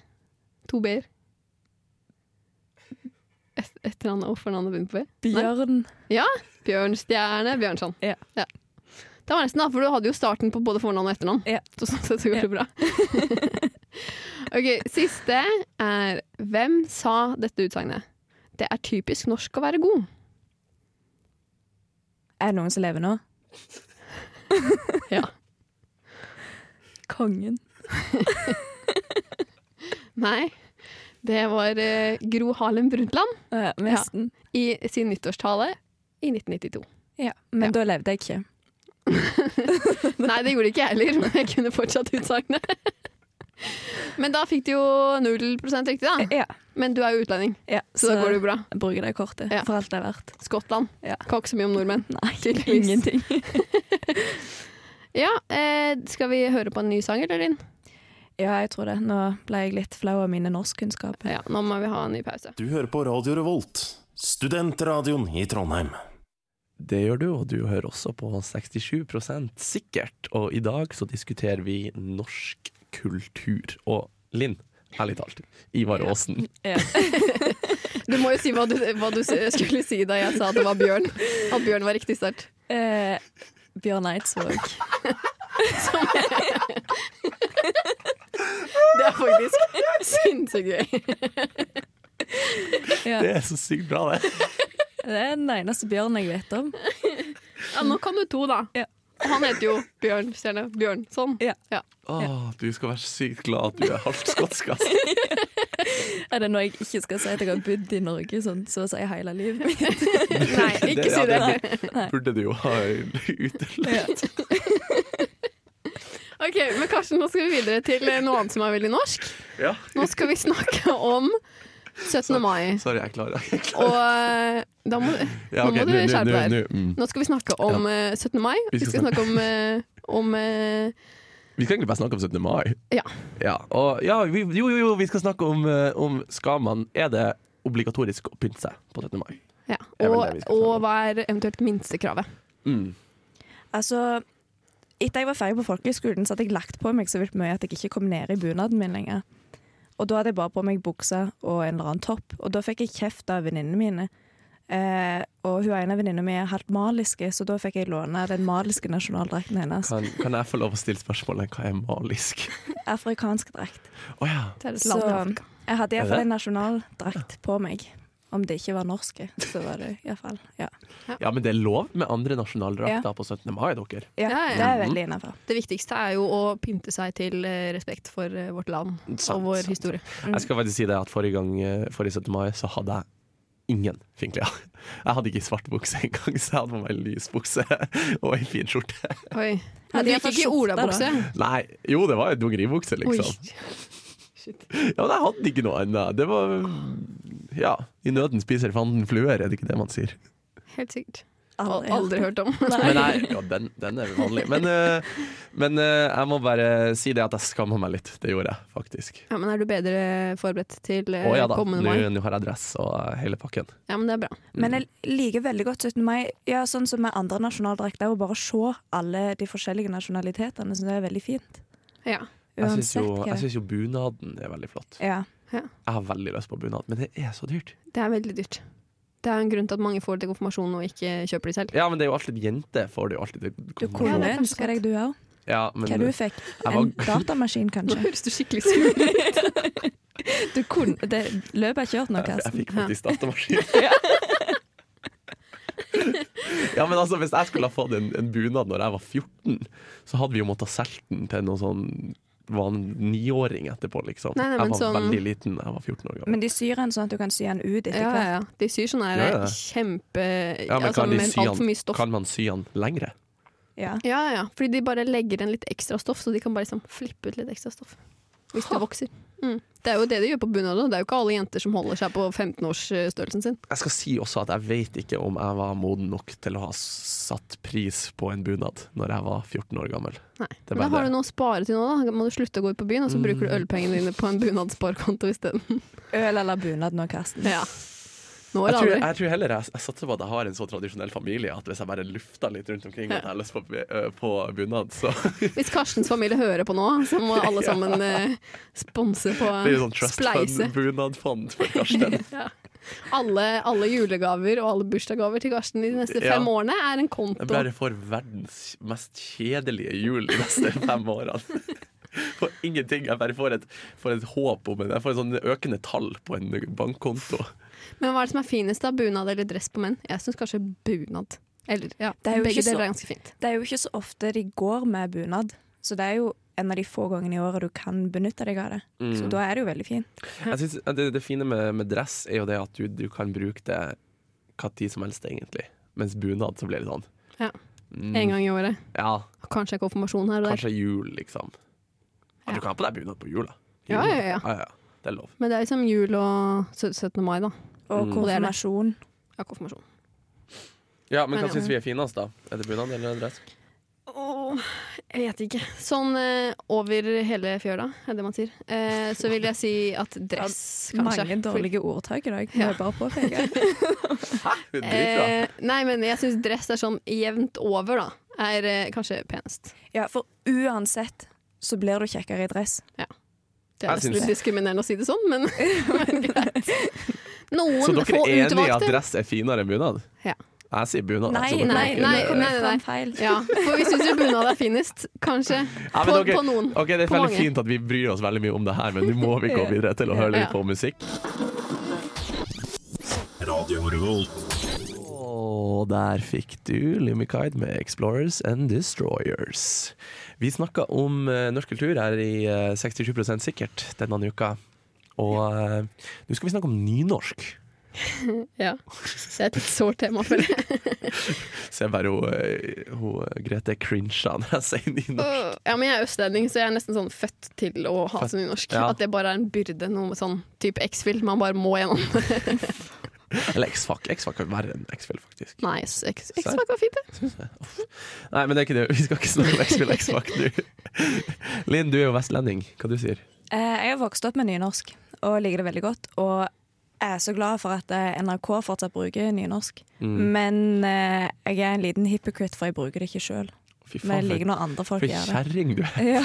Speaker 3: To B-er. Et, et eller annet hvorfor navnet begynner på B.
Speaker 4: Bjørn.
Speaker 3: Bjørnstjerne Bjørnson.
Speaker 4: Ja.
Speaker 3: Det var nesten, da, for du hadde jo starten på både fornavn og etternavn.
Speaker 4: Ja.
Speaker 3: Så sånn sett så går det bra. ok, Siste er Hvem sa dette utsagnet? Det er typisk norsk å være god.
Speaker 4: Er det noen som lever nå?
Speaker 3: Ja.
Speaker 4: Kongen.
Speaker 3: Nei, det var eh, Gro Harlem Brundtland
Speaker 4: Ja, nesten.
Speaker 3: i sin nyttårstale i 1992.
Speaker 4: Ja. Men
Speaker 3: Ja.
Speaker 4: da levde jeg ikke.
Speaker 3: Nei, det gjorde ikke jeg heller, men jeg kunne fortsatt utsagnet. Men da fikk du jo 0 riktig, da.
Speaker 4: Ja.
Speaker 3: Men du er jo utlending,
Speaker 4: ja.
Speaker 3: så, da går det jo bra.
Speaker 4: jeg bruker det kortet
Speaker 3: Ja.
Speaker 4: for alt det er verdt.
Speaker 3: Skottland.
Speaker 4: Ja.
Speaker 3: Kan ikke så mye om nordmenn.
Speaker 4: Nei,
Speaker 3: Tydeligvis.
Speaker 4: ingenting.
Speaker 3: Ja, eh, Skal vi høre på en ny sang, eller, Linn?
Speaker 4: Ja, jeg tror det. Nå ble jeg litt flau av mine norskkunnskaper.
Speaker 3: Ja, nå må vi ha en ny pause.
Speaker 5: Du hører på Radio Revolt, studentradioen i Trondheim.
Speaker 2: Det gjør du, og du hører også på 67 sikkert. Og i dag så diskuterer vi norsk kultur. Og Linn, ærlig talt, Ivar Aasen.
Speaker 3: Du må jo si hva du, hva du skulle si da jeg sa at det var bjørn. At bjørn var riktig sterkt.
Speaker 4: Eh, Bjørn Eidsvåg.
Speaker 3: Det er faktisk sinnssykt gøy.
Speaker 4: Ja.
Speaker 2: Det er så sykt bra, det.
Speaker 4: Det er den eneste bjørnen jeg vet om.
Speaker 3: Ja, nå kan du to, da.
Speaker 4: Ja.
Speaker 3: Og han heter jo Bjørn Stjerne Bjørnson.
Speaker 4: Ja.
Speaker 2: Åh, du skal være sykt glad at du er halvt skotsk, ass.
Speaker 4: Er det noe jeg ikke skal si at jeg har bodd i Norge sånn, så å si hele livet mitt?
Speaker 3: Nei, ikke si det.
Speaker 2: Ja, det burde du jo ha utelukket.
Speaker 3: Ok, men Karsten, nå skal vi videre til eh, noe annet som er veldig norsk.
Speaker 2: Ja.
Speaker 3: Nå skal vi snakke om 17. mai.
Speaker 2: Sorry, jeg klarer det.
Speaker 3: Og eh, da må,
Speaker 2: Ja,
Speaker 3: nå
Speaker 2: ok,
Speaker 3: må du
Speaker 2: nå- nå-
Speaker 3: skjerpe deg.
Speaker 2: nå- nå, mm.
Speaker 3: Nå skal vi snakke om eh, 17. mai. Vi skal snakke om, eh, om eh,
Speaker 2: Vi skal egentlig bare snakke om 17. mai.
Speaker 3: Ja.
Speaker 2: Ja, og, ja vi, jo, jo, jo, vi skal snakke om, eh, om skal man Er det obligatorisk å pynte seg på 17. mai?
Speaker 3: ja.
Speaker 2: Det er vel
Speaker 3: Og,
Speaker 2: det vi skal snakke
Speaker 3: og
Speaker 2: om.
Speaker 3: hva er eventuelt minstekravet?
Speaker 4: Altså, etter jeg var ferdig på folkehøyskolen, så hadde jeg lagt på meg så vilt mye at jeg ikke kom ned i bunaden min lenger. Og da hadde jeg bare på meg buksa og en eller annen topp, og da fikk jeg kjeft av venninnene mine. Eh, og hun ene venninna mi er halvt maliske, så da fikk jeg låne den maliske nasjonaldrakten hennes.
Speaker 2: Kan, kan jeg få lov å stille spørsmålet hva er malisk?
Speaker 4: Afrikansk drakt.
Speaker 2: Å ja.
Speaker 3: Det er et
Speaker 4: Så
Speaker 3: land i Afrika.
Speaker 4: jeg hadde
Speaker 2: Er
Speaker 4: iallfall
Speaker 2: det?
Speaker 4: en nasjonaldrakt på meg. Om det ikke var norske, så var det iallfall ja.
Speaker 2: ja, men det er lov med andre nasjonaldrakter på 17. mai, dere.
Speaker 4: ja.
Speaker 3: Ja, ja.
Speaker 4: Det er veldig innafor.
Speaker 3: Det viktigste er jo å pynte seg til eh, respekt for eh, vårt land
Speaker 2: Sant,
Speaker 3: og vår
Speaker 2: sant.
Speaker 3: historie.
Speaker 2: Jeg skal faktisk si det at forrige gang eh, Forrige 17. mai så hadde jeg ingen finklær. Jeg hadde ikke svart bukse engang, så jeg hadde på meg en lys bukse og ei fin skjorte.
Speaker 3: Oi.
Speaker 4: Ja,
Speaker 3: Men du
Speaker 4: de har
Speaker 3: gikk
Speaker 4: fått
Speaker 3: ikke i
Speaker 4: skjorte, da.
Speaker 3: olabukse?
Speaker 2: Nei, jo, det var ei dongeribukse, liksom.
Speaker 3: Oi.
Speaker 2: Ja, men jeg hadde ikke noe annet. Det var Ja, i nøden spiser fanden fluer, er det ikke det man sier?
Speaker 3: Helt sikkert.
Speaker 4: Aldri.
Speaker 3: Aldri, aldri hørt om.
Speaker 2: Men jeg, ja, den, den er vanlig. Men, eh, men eh, jeg må bare si det at jeg skammer meg litt. Det gjorde jeg faktisk.
Speaker 3: Ja, men er du bedre forberedt til eh,
Speaker 2: Å ja da, nå
Speaker 3: kommende mai?
Speaker 2: nå har jeg dress og eh, hele pakken.
Speaker 3: Ja, men det er bra.
Speaker 4: Men jeg liker veldig godt 17. mai. Ja, sånn som med andre nasjonaldrakter, å bare se alle de forskjellige nasjonalitetene. Så det er veldig fint.
Speaker 3: Ja.
Speaker 2: Jeg syns
Speaker 4: Uansett
Speaker 2: jo,
Speaker 4: hva
Speaker 2: jeg
Speaker 4: det er.
Speaker 2: synes jo bunaden er veldig flott.
Speaker 4: Ja.
Speaker 2: Jeg har veldig lyst på bunad, men det er så dyrt.
Speaker 3: Det er veldig dyrt. Det er en grunn til at mange får det til konfirmasjon og ikke kjøper de selv.
Speaker 2: Ja, men det er jo alltid jenter får det jo alltid.
Speaker 4: Du
Speaker 2: til
Speaker 4: kunne
Speaker 3: Ja, det er kanskje
Speaker 4: ønske deg du òg.
Speaker 2: Ja,
Speaker 4: Hva du
Speaker 2: men
Speaker 4: fikk?
Speaker 2: Jeg
Speaker 4: En
Speaker 2: var-
Speaker 4: datamaskin,
Speaker 3: Nå
Speaker 4: kanskje?
Speaker 3: høres du skikkelig sur ut.
Speaker 4: Du kunne, det løpet er kjørt nå,
Speaker 3: altså?
Speaker 2: Jeg, jeg
Speaker 4: Karsten.
Speaker 2: fikk faktisk datamaskin. ja, men altså, Hvis jeg skulle ha fått en, en bunad når jeg var 14, så hadde vi jo måttet selge den til noen sånn var en niåring etterpå, liksom.
Speaker 3: Nei, nei,
Speaker 2: jeg
Speaker 3: men
Speaker 2: var
Speaker 3: sånn-
Speaker 2: veldig liten da jeg var 14 år gammel.
Speaker 4: Men de syr den sånn at du kan sy den ut etter
Speaker 3: Ja, ja,
Speaker 4: hvert.
Speaker 3: ja. De syr sånn her
Speaker 2: Ja, ja.
Speaker 3: kjempe
Speaker 2: ja, men
Speaker 3: altså,
Speaker 2: kan, de
Speaker 3: Med
Speaker 2: sy
Speaker 3: altfor
Speaker 2: han,
Speaker 3: mye stoff.
Speaker 2: kan man sy den lengre?
Speaker 4: Ja.
Speaker 3: Ja, ja, ja. Fordi de bare legger inn litt ekstra stoff, så de kan bare liksom flippe ut litt ekstra stoff. Hvis det vokser. Mm. Det er jo det de gjør på bunaden. Det er jo ikke alle jenter som holder seg på 15-årsstørrelsen sin.
Speaker 2: Jeg skal si også at jeg vet ikke om jeg var moden nok til å ha s- satt pris på en bunad når jeg var 14 år gammel.
Speaker 3: Nei.
Speaker 2: Det er
Speaker 3: Men da
Speaker 2: bare
Speaker 3: har
Speaker 2: det. Mm.
Speaker 3: du noe å spare til nå, da. Da Må du slutte å gå ut på byen, og så bruker du ølpengene dine på en bunadssparekonto isteden.
Speaker 4: Øl eller bunad nå, Karsten.
Speaker 3: Ja. Nå
Speaker 2: Jeg
Speaker 3: er det
Speaker 2: tror,
Speaker 3: aldri.
Speaker 2: jeg tror heller jeg, jeg satser på at jeg har en så tradisjonell familie at hvis jeg bare lufter litt rundt omkring at jeg har lyst på, bu- ø, på bunad, så
Speaker 3: Hvis Karstens familie hører på nå, så må alle sammen eh, sponse på
Speaker 2: blir det sånn trust
Speaker 3: spleise.
Speaker 2: fund, bunadfond for Karsten.
Speaker 3: Ja. Alle, alle julegaver og alle bursdagsgaver til Karsten de neste
Speaker 2: Ja.
Speaker 3: fem årene er en
Speaker 2: Jeg
Speaker 3: konto.
Speaker 2: bare får verdens mest kjedelige jul de neste fem årene. For ingenting. Jeg bare får et, får et håp om en Jeg får et sånn økende tall på en bankkonto.
Speaker 3: Men hva er det som er finest, da? Bunad eller dress på menn? Jeg syns kanskje bunad. Eller, ja,
Speaker 4: Det er jo
Speaker 3: begge
Speaker 4: ikke så-
Speaker 3: deler er ganske fint.
Speaker 4: Det er jo ikke så ofte de går med bunad, så det er jo en av de få gangene i året du kan benytte deg av det. Så da er det jo veldig fint.
Speaker 2: Jeg synes at det, det fine med, med dress er jo det at du, du kan bruke det hva tid som helst, egentlig. Mens bunad så blir det sånn.
Speaker 3: Ja.
Speaker 2: Mm,
Speaker 3: En gang i året.
Speaker 2: Ja,
Speaker 3: Kanskje en konfirmasjon her og der.
Speaker 2: kanskje jul, liksom. Ja,
Speaker 3: Ja.
Speaker 2: du kan ha på deg bunad på jula.
Speaker 3: Ja, ja, ja.
Speaker 2: Det er lov.
Speaker 3: Men det er liksom jul og sø- 17. mai, da.
Speaker 4: Og
Speaker 2: Mm.
Speaker 4: konfirmasjon.
Speaker 3: Ja, konfirmasjon.
Speaker 2: Ja, Men hva
Speaker 3: Men, ja.
Speaker 2: syns vi er finest, da? Er det bunad eller dress?
Speaker 3: Åh, jeg vet ikke. Sånn eh, over hele fjøla, er det man sier. Eh, så vil jeg si at dress, kanskje.
Speaker 4: Mange dårlige ordtak i dag, må jeg bare påpeke.
Speaker 2: Det er dritbra.
Speaker 3: Eh, nei, men jeg syns dress er sånn jevnt over, da. Er eh, kanskje penest.
Speaker 4: Ja, for uansett så blir du kjekkere i dress.
Speaker 3: Det er
Speaker 2: Jeg
Speaker 3: nesten
Speaker 2: syns-
Speaker 3: litt diskriminerende å si det sånn, men, men greit. Noen
Speaker 2: Så dere
Speaker 3: få
Speaker 2: er enig i at
Speaker 3: utvalgte.
Speaker 2: dress er finere enn bunad?
Speaker 3: Ja.
Speaker 2: Jeg sier bunad. altså,
Speaker 4: Nei,
Speaker 2: så
Speaker 3: altså,
Speaker 2: dere
Speaker 3: nei,
Speaker 2: er ikke
Speaker 3: nei,
Speaker 2: det.
Speaker 3: nei, nei.
Speaker 4: Feil.
Speaker 3: Ja, for vi syns jo bunad er finest, kanskje.
Speaker 2: Ja, men
Speaker 3: på,
Speaker 2: dere-
Speaker 3: på noen.
Speaker 2: Ok, Det er
Speaker 3: På
Speaker 2: veldig
Speaker 3: mange.
Speaker 2: fint at vi bryr oss veldig mye om det her, men nå må vi gå videre til å høre litt
Speaker 3: Ja.
Speaker 2: på musikk.
Speaker 5: Radio Revolt.
Speaker 2: Og der fikk du Limikide med Explorers and Destroyers. Vi snakka om eh, norsk kultur her i eh, 67 sikkert denne uka. Og eh, nå skal vi snakke om nynorsk.
Speaker 3: Ja. Det er et litt sårt tema, føler jeg.
Speaker 2: Ser bare hun, eh, hun eh, Grete crincha når jeg sier nynorsk.
Speaker 3: Ja, men jeg er østlending, så jeg er nesten sånn født til å hate nynorsk.
Speaker 2: Ja.
Speaker 3: At det bare er en byrde, noe sånn type X-Fill man bare må gjennom.
Speaker 2: Eller X-Fac. X-Fac er verre enn X-Fill, faktisk. Eh,
Speaker 3: Nei, X- X- X-Fac var fint, det.
Speaker 2: Nei, men det er ikke det. Vi skal ikke snakke om X-Fill og X-Fac nå. Linn, du er jo vestlending. Hva du sier
Speaker 4: Eh, Jeg har vokst opp med nynorsk og liker det veldig godt. Og jeg er så glad for at eh, NRK
Speaker 3: Mm.
Speaker 4: fortsatt bruker nynorsk. Men eh, jeg er en liten hypocrite, for jeg bruker det ikke sjøl.
Speaker 2: Fy
Speaker 4: Men jeg
Speaker 2: faen,
Speaker 4: liker
Speaker 2: for,
Speaker 4: når andre folk
Speaker 2: for
Speaker 4: gjør det.
Speaker 2: kjerring du er.
Speaker 4: Ja.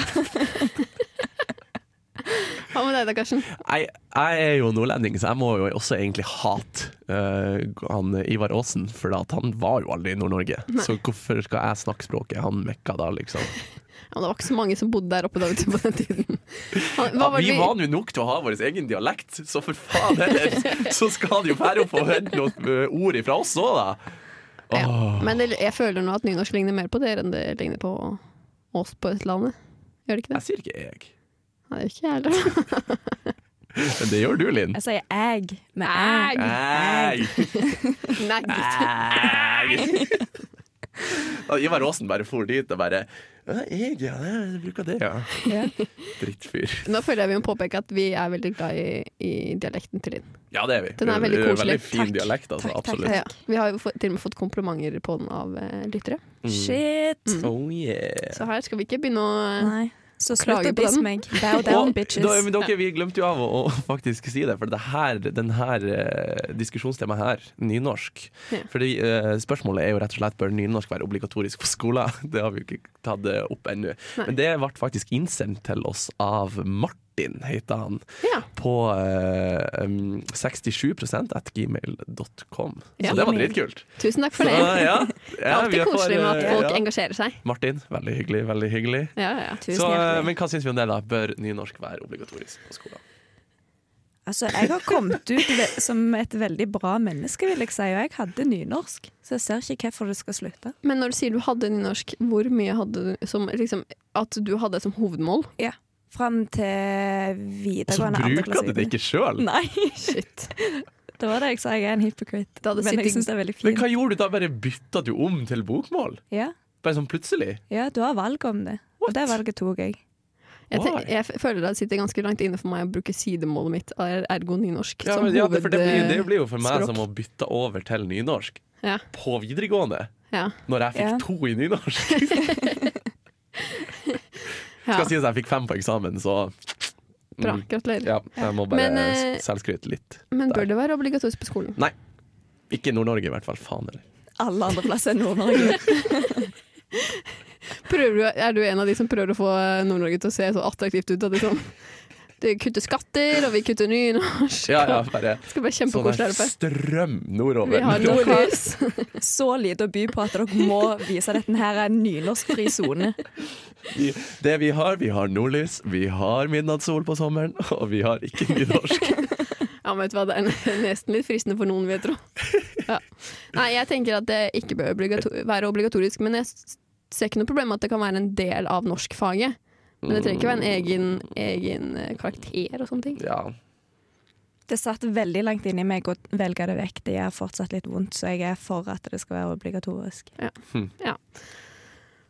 Speaker 3: Hva med deg da, Karsten?
Speaker 2: Jeg, jeg er jo nordlending, så jeg må jo også egentlig hate eh, han Ivar Aasen, for at han var jo aldri i Nord-Norge. Så hvorfor skal jeg snakke språket han mekka da, liksom?
Speaker 3: Ja, det var ikke så mange som bodde der oppe da ute på den tiden. Han- Hva
Speaker 2: Ja,
Speaker 3: var det
Speaker 2: vi var nå nok til å ha vår egen dialekt, så for faen heller så skal det jo være å få høre noen eh, ord ifra oss òg, da.
Speaker 3: Ja. Men det, jeg føler nå at nynorsk ligner mer på dere enn det ligner på oss på Østlandet. Gjør det ikke det?
Speaker 2: Jeg sier ikke jeg,
Speaker 3: Nei, det gjør ikke jeg heller.
Speaker 2: men det gjør du, Linn.
Speaker 4: Jeg sier egg med
Speaker 3: Egg.
Speaker 4: egg.
Speaker 2: Nei.
Speaker 3: Nei, gutt.
Speaker 2: Nei. Da Ivar Aasen bare for dit og bare «Ja, Jeg, ja, jeg bruker det, ja.
Speaker 4: Ja.
Speaker 2: Drittfyr.
Speaker 3: Nå føler jeg vi må påpeke at vi er veldig glad i, i dialekten til Linn.
Speaker 2: Ja, det er vi.
Speaker 3: Den er veldig
Speaker 2: Det
Speaker 3: koselig.
Speaker 2: Veldig fin
Speaker 4: Takk.
Speaker 2: dialekt, altså.
Speaker 4: Takk, takk,
Speaker 2: absolutt.
Speaker 3: Ja, vi har jo fått, til og med fått komplimenter på den av eh, lyttere. Mm.
Speaker 4: Shit.
Speaker 2: Oh yeah.
Speaker 3: Så her skal vi ikke begynne å
Speaker 4: Nei. Så slutt
Speaker 3: Klager
Speaker 4: å
Speaker 3: på
Speaker 4: disse
Speaker 3: den.
Speaker 4: meg. Bow
Speaker 2: Og,
Speaker 4: down, bitches.
Speaker 2: da, men dere, vi glemte jo av å, å faktisk si det, for det her, den her eh, diskusjonstemaet her, nynorsk
Speaker 3: Ja.
Speaker 2: Fordi eh, spørsmålet er jo rett og slett bør nynorsk være obligatorisk på skoler. Det har vi jo ikke tatt det opp ennå.
Speaker 3: Nei.
Speaker 2: Men det ble faktisk innsendt til oss av Martin, heter han,
Speaker 3: Ja.
Speaker 2: på eh, um, 67 at gmail.com.
Speaker 3: Ja.
Speaker 2: Så det var dritkult.
Speaker 3: Tusen takk
Speaker 2: Så,
Speaker 3: for det.
Speaker 2: ja,
Speaker 3: Det er
Speaker 2: ja, vi
Speaker 3: alltid
Speaker 2: får,
Speaker 3: koselig med at
Speaker 2: eh,
Speaker 3: folk
Speaker 2: ja.
Speaker 3: engasjerer seg.
Speaker 2: Martin, veldig hyggelig, veldig hyggelig.
Speaker 3: Ja, ja.
Speaker 4: Tusen
Speaker 2: Så, eh,
Speaker 4: hjertelig.
Speaker 2: men hva syns vi om det, da? Bør nynorsk være obligatorisk på skolen?
Speaker 4: Altså, jeg har kommet ut ve- som et veldig bra menneske, vil jeg si, og jeg hadde nynorsk. Så jeg ser ikke hvorfor det skal slutte.
Speaker 3: Men når du sier du hadde nynorsk, hvor mye hadde du som liksom, At du hadde det som hovedmål?
Speaker 4: Ja. Fram til
Speaker 2: Og så
Speaker 4: videregående
Speaker 2: Altså, bruker du det ikke sjøl!
Speaker 4: Nei.
Speaker 3: Shit.
Speaker 4: Det var det jeg sa, jeg er en hypocrite.
Speaker 3: Det hadde
Speaker 4: Men liksom jeg
Speaker 3: sittet-
Speaker 4: syns det er veldig
Speaker 2: Men
Speaker 4: fint.
Speaker 2: hva gjorde du da? Bare bytta du om til bokmål?
Speaker 4: Ja.
Speaker 2: Bare sånn plutselig?
Speaker 4: ja, du har valg om det.
Speaker 2: What?
Speaker 4: Og det valget tok jeg.
Speaker 3: Jeg,
Speaker 2: Why?
Speaker 3: te- jeg f- føler det sitter ganske langt inne for meg å bruke sidemålet mitt, er- ergo nynorsk,
Speaker 2: Ja,
Speaker 3: som
Speaker 2: men, ja, det, for det, blir, det
Speaker 3: hovedspråk.
Speaker 2: blir jo for meg
Speaker 3: språk.
Speaker 2: som å bytte over til nynorsk
Speaker 3: Ja,
Speaker 2: på videregående.
Speaker 3: ja,
Speaker 2: Når jeg fikk
Speaker 4: Ja.
Speaker 2: to i nynorsk.
Speaker 3: ja.
Speaker 2: Skal sies jeg fikk fem på eksamen, så mm,
Speaker 3: Bra. Gratulerer.
Speaker 2: Ja, jeg må bare
Speaker 3: Men, eh,
Speaker 2: selvskryte litt.
Speaker 3: Men
Speaker 2: Der.
Speaker 3: bør det være obligatorisk på skolen?
Speaker 2: Nei. Ikke i Nord-Norge, i hvert fall. Faen heller.
Speaker 4: Alle andre plasser enn Nord-Norge.
Speaker 3: Prøver du, er du en av de som prøver å få Nord-Norge til å se så attraktivt ut? At de sånn Du kutter skatter, og vi kutter nynorsk.
Speaker 2: Ja, ja, bare
Speaker 3: Det skal bli
Speaker 2: sånn
Speaker 3: kjempekoselig her
Speaker 2: her
Speaker 3: oppe.
Speaker 2: strøm nordover.
Speaker 3: Vi har nordlys.
Speaker 4: Så lite å by på at dere må vise at dette her er en nynorskfri sone.
Speaker 2: Vi- Det vi har, vi har nordlys, vi har midnattssol på sommeren, og vi har ikke nynorsk.
Speaker 3: Ja, men vet du hva, det er nesten litt fristende for noen, vil jeg tro. Ja. Nei, jeg tenker at det ikke bør obligato være obligatorisk, men jeg s- ser ikke noe problem med at det kan være en del av norskfaget. Men det trenger ikke være en egen, egen eh, karakter og sånne ting.
Speaker 2: Ja.
Speaker 4: Det satt veldig langt inni meg å velge det vekk. Det gjør fortsatt litt vondt, så jeg er for at det skal være obligatorisk.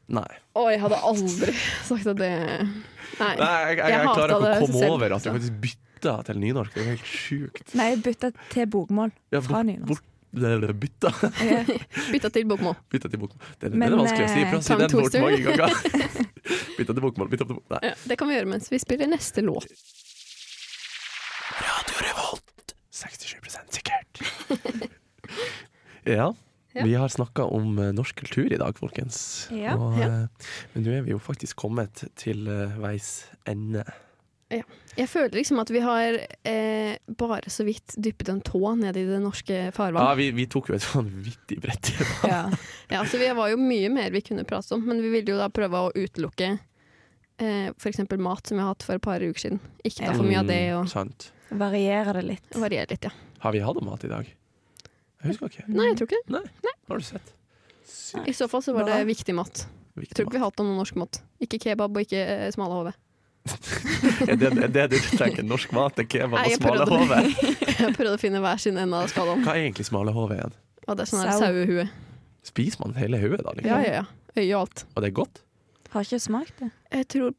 Speaker 2: Nei.
Speaker 3: Å, jeg hadde aldri sagt at det Nei.
Speaker 2: Nei, jeg, jeg,
Speaker 3: Jeg
Speaker 2: jeg klarer
Speaker 3: hatet
Speaker 2: ikke å
Speaker 3: det
Speaker 2: komme
Speaker 3: selv,
Speaker 2: over at jeg
Speaker 3: så.
Speaker 2: faktisk bytta til nynorsk. Det er helt sjukt.
Speaker 4: Nei, bytte til bokmål
Speaker 2: Ja,
Speaker 4: fra
Speaker 2: bort-
Speaker 4: nynorsk.
Speaker 2: bort- det- det- Bytta
Speaker 3: Bytta til bokmål.
Speaker 2: Bytta til bokmål. Det, det,
Speaker 4: Men,
Speaker 2: er vanskelig å si.
Speaker 4: eh,
Speaker 2: Prøv å si
Speaker 3: tongue
Speaker 2: den fort
Speaker 3: twister.
Speaker 2: mange ganger. Bytta til bokmål, bytta til bokmål. Nei.
Speaker 3: Ja, det kan vi gjøre mens vi spiller neste låt.
Speaker 2: 67 sikkert. ja.
Speaker 3: Ja.
Speaker 2: Vi har snakka om eh, norsk kultur i dag, folkens.
Speaker 4: Ja.
Speaker 2: Og,
Speaker 3: Ja.
Speaker 2: eh, Men nå er vi jo faktisk kommet til eh, veis ende.
Speaker 3: Jeg føler liksom at vi har eh, bare så vidt dyppet en tå ned i det norske
Speaker 2: Ja,
Speaker 3: farvann.
Speaker 2: vi, vi tok jo et vanvittig brett i dag.
Speaker 4: Ja.
Speaker 3: Ja, så vi var jo mye mer vi kunne prate om, men vi ville jo da prøve å utelukke eh, f.eks. mat som vi har hatt for et par uker siden. Ikke ta for mye av det,
Speaker 2: Mm,
Speaker 3: og
Speaker 2: sant.
Speaker 4: Variere det litt.
Speaker 3: variere litt, ja.
Speaker 2: Har vi hatt mat i dag? Jeg husker ikke.
Speaker 3: Nei, jeg tror ikke det.
Speaker 2: Nei. Har du sett?
Speaker 3: I så fall så var det
Speaker 4: Nei.
Speaker 3: viktig mat. Jeg
Speaker 2: Viktig
Speaker 3: tror ikke vi har hatt noe norsk mat. Ikke kebab og ikke eh, smale hove.
Speaker 2: mat. Er det, er det du tenker? Norsk mat er kebab
Speaker 3: Nei,
Speaker 2: og
Speaker 3: jeg
Speaker 2: smale
Speaker 3: prøvde.
Speaker 2: hove?
Speaker 3: Jeg prøvde å finne hver sin ende av skalaen.
Speaker 2: Hva er egentlig smale hove igjen?
Speaker 3: Og det er sånn her
Speaker 4: Sau.
Speaker 3: sauehue.
Speaker 2: Spiser man hele hodet da? Liksom?
Speaker 3: Ja, ja, ja. Øye og alt.
Speaker 2: Og det er godt?
Speaker 4: Har ikke smakt det.
Speaker 3: Jeg tror,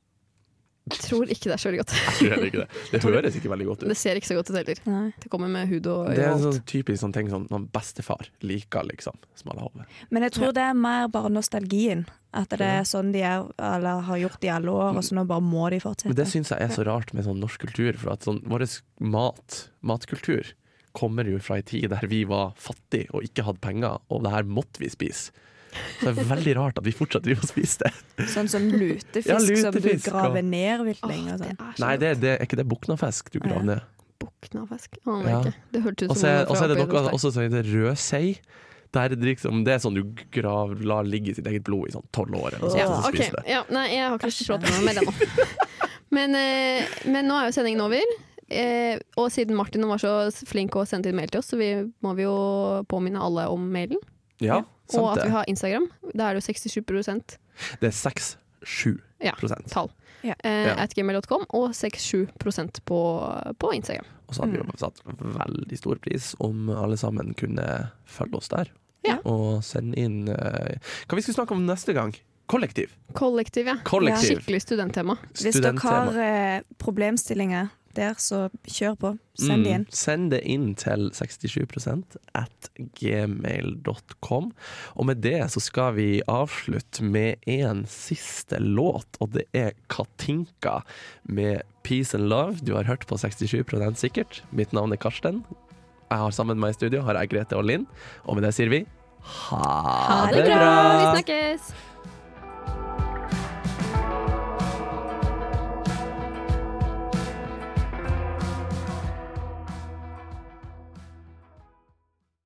Speaker 3: tror ikke det er så veldig godt.
Speaker 2: Jeg tror heller ikke det. Det høres ikke veldig godt ut.
Speaker 3: Det ser ikke så godt ut heller.
Speaker 4: Nei.
Speaker 3: Det kommer med hud og
Speaker 2: Det
Speaker 3: øye
Speaker 2: er en
Speaker 3: og alt.
Speaker 2: sånn typisk sånn ting som sånn, bestefar liker, liksom. Smale hove.
Speaker 4: Men jeg tror det er mer bare nostalgien. At det er sånn de er, eller har gjort i alle år, og så nå bare må de
Speaker 2: Men det
Speaker 4: fortsette.
Speaker 2: syns jeg er så rart med sånn norsk kultur, for at sånn, vår mat, matkultur kommer jo fra ei tid der vi var fattige og ikke hadde penger, og det her måtte vi spise. Så det er veldig rart at vi fortsatt driver og spiser det.
Speaker 4: Sånn som lutefisk,
Speaker 2: Ja,
Speaker 4: som du
Speaker 2: lutefisk,
Speaker 4: graver
Speaker 2: og-
Speaker 4: ned vilt
Speaker 3: Åh,
Speaker 4: lenge. Og
Speaker 3: det
Speaker 4: sånn.
Speaker 3: er
Speaker 2: altså. Nei,
Speaker 3: så
Speaker 2: det, det, er ikke det buknafisk du graver ned?
Speaker 3: Buknafisk. Aner
Speaker 2: Ja.
Speaker 3: ikke. Det hørtes
Speaker 2: Og
Speaker 3: ut
Speaker 2: så
Speaker 3: som
Speaker 2: er
Speaker 3: noe
Speaker 2: og så
Speaker 3: fra
Speaker 2: er det altså-
Speaker 3: oppi
Speaker 2: noe
Speaker 3: hos deg.
Speaker 2: også som heter rødsei. Der det liksom, det er sånn du grav, lar ligge sitt eget blod i sånn tolv år, eller noe sånt,
Speaker 3: Ja,
Speaker 2: og så
Speaker 3: ok.
Speaker 2: spiser det.
Speaker 3: ja, nei, jeg har ikke lyst til å prate med meg med det nå. Men, eh, men nå er jo sendingen over. Eh, og siden Martin var så flink å sende inn mail til oss, så vi, må vi jo påminne alle om mailen.
Speaker 2: Ja,
Speaker 3: Og
Speaker 2: sant
Speaker 3: at vi
Speaker 2: det.
Speaker 3: har Instagram. Da er det jo 67
Speaker 2: Det er 6-7
Speaker 3: Ja.
Speaker 2: prosent.
Speaker 3: tall.
Speaker 4: Ja.
Speaker 3: Eh,
Speaker 2: Ja.
Speaker 3: At gmail.com og 67 på, på Instagram.
Speaker 2: Og så hadde vi jo satt veldig stor pris om alle sammen kunne følge oss der.
Speaker 3: Ja.
Speaker 2: Og sende inn eh, Hva vi skulle snakke om neste gang? Kollektiv.
Speaker 3: Kollektiv, ja.
Speaker 2: Kollektiv.
Speaker 3: Skikkelig studenttema.
Speaker 4: Hvis dere
Speaker 2: Studenttema.
Speaker 4: har eh, problemstillinger der, så kjør på. Send de inn.
Speaker 2: Mm, send det inn til 67 at gmail.com. Og med det så skal vi avslutte med en siste låt, og det er Katinka med 'Peace and Love'. Du har hørt på 67 sikkert. Mitt navn er Karsten. Jeg har sammen med meg i studio har jeg Grete og Linn, og med det sier vi ha,
Speaker 3: Ha det bra! Vi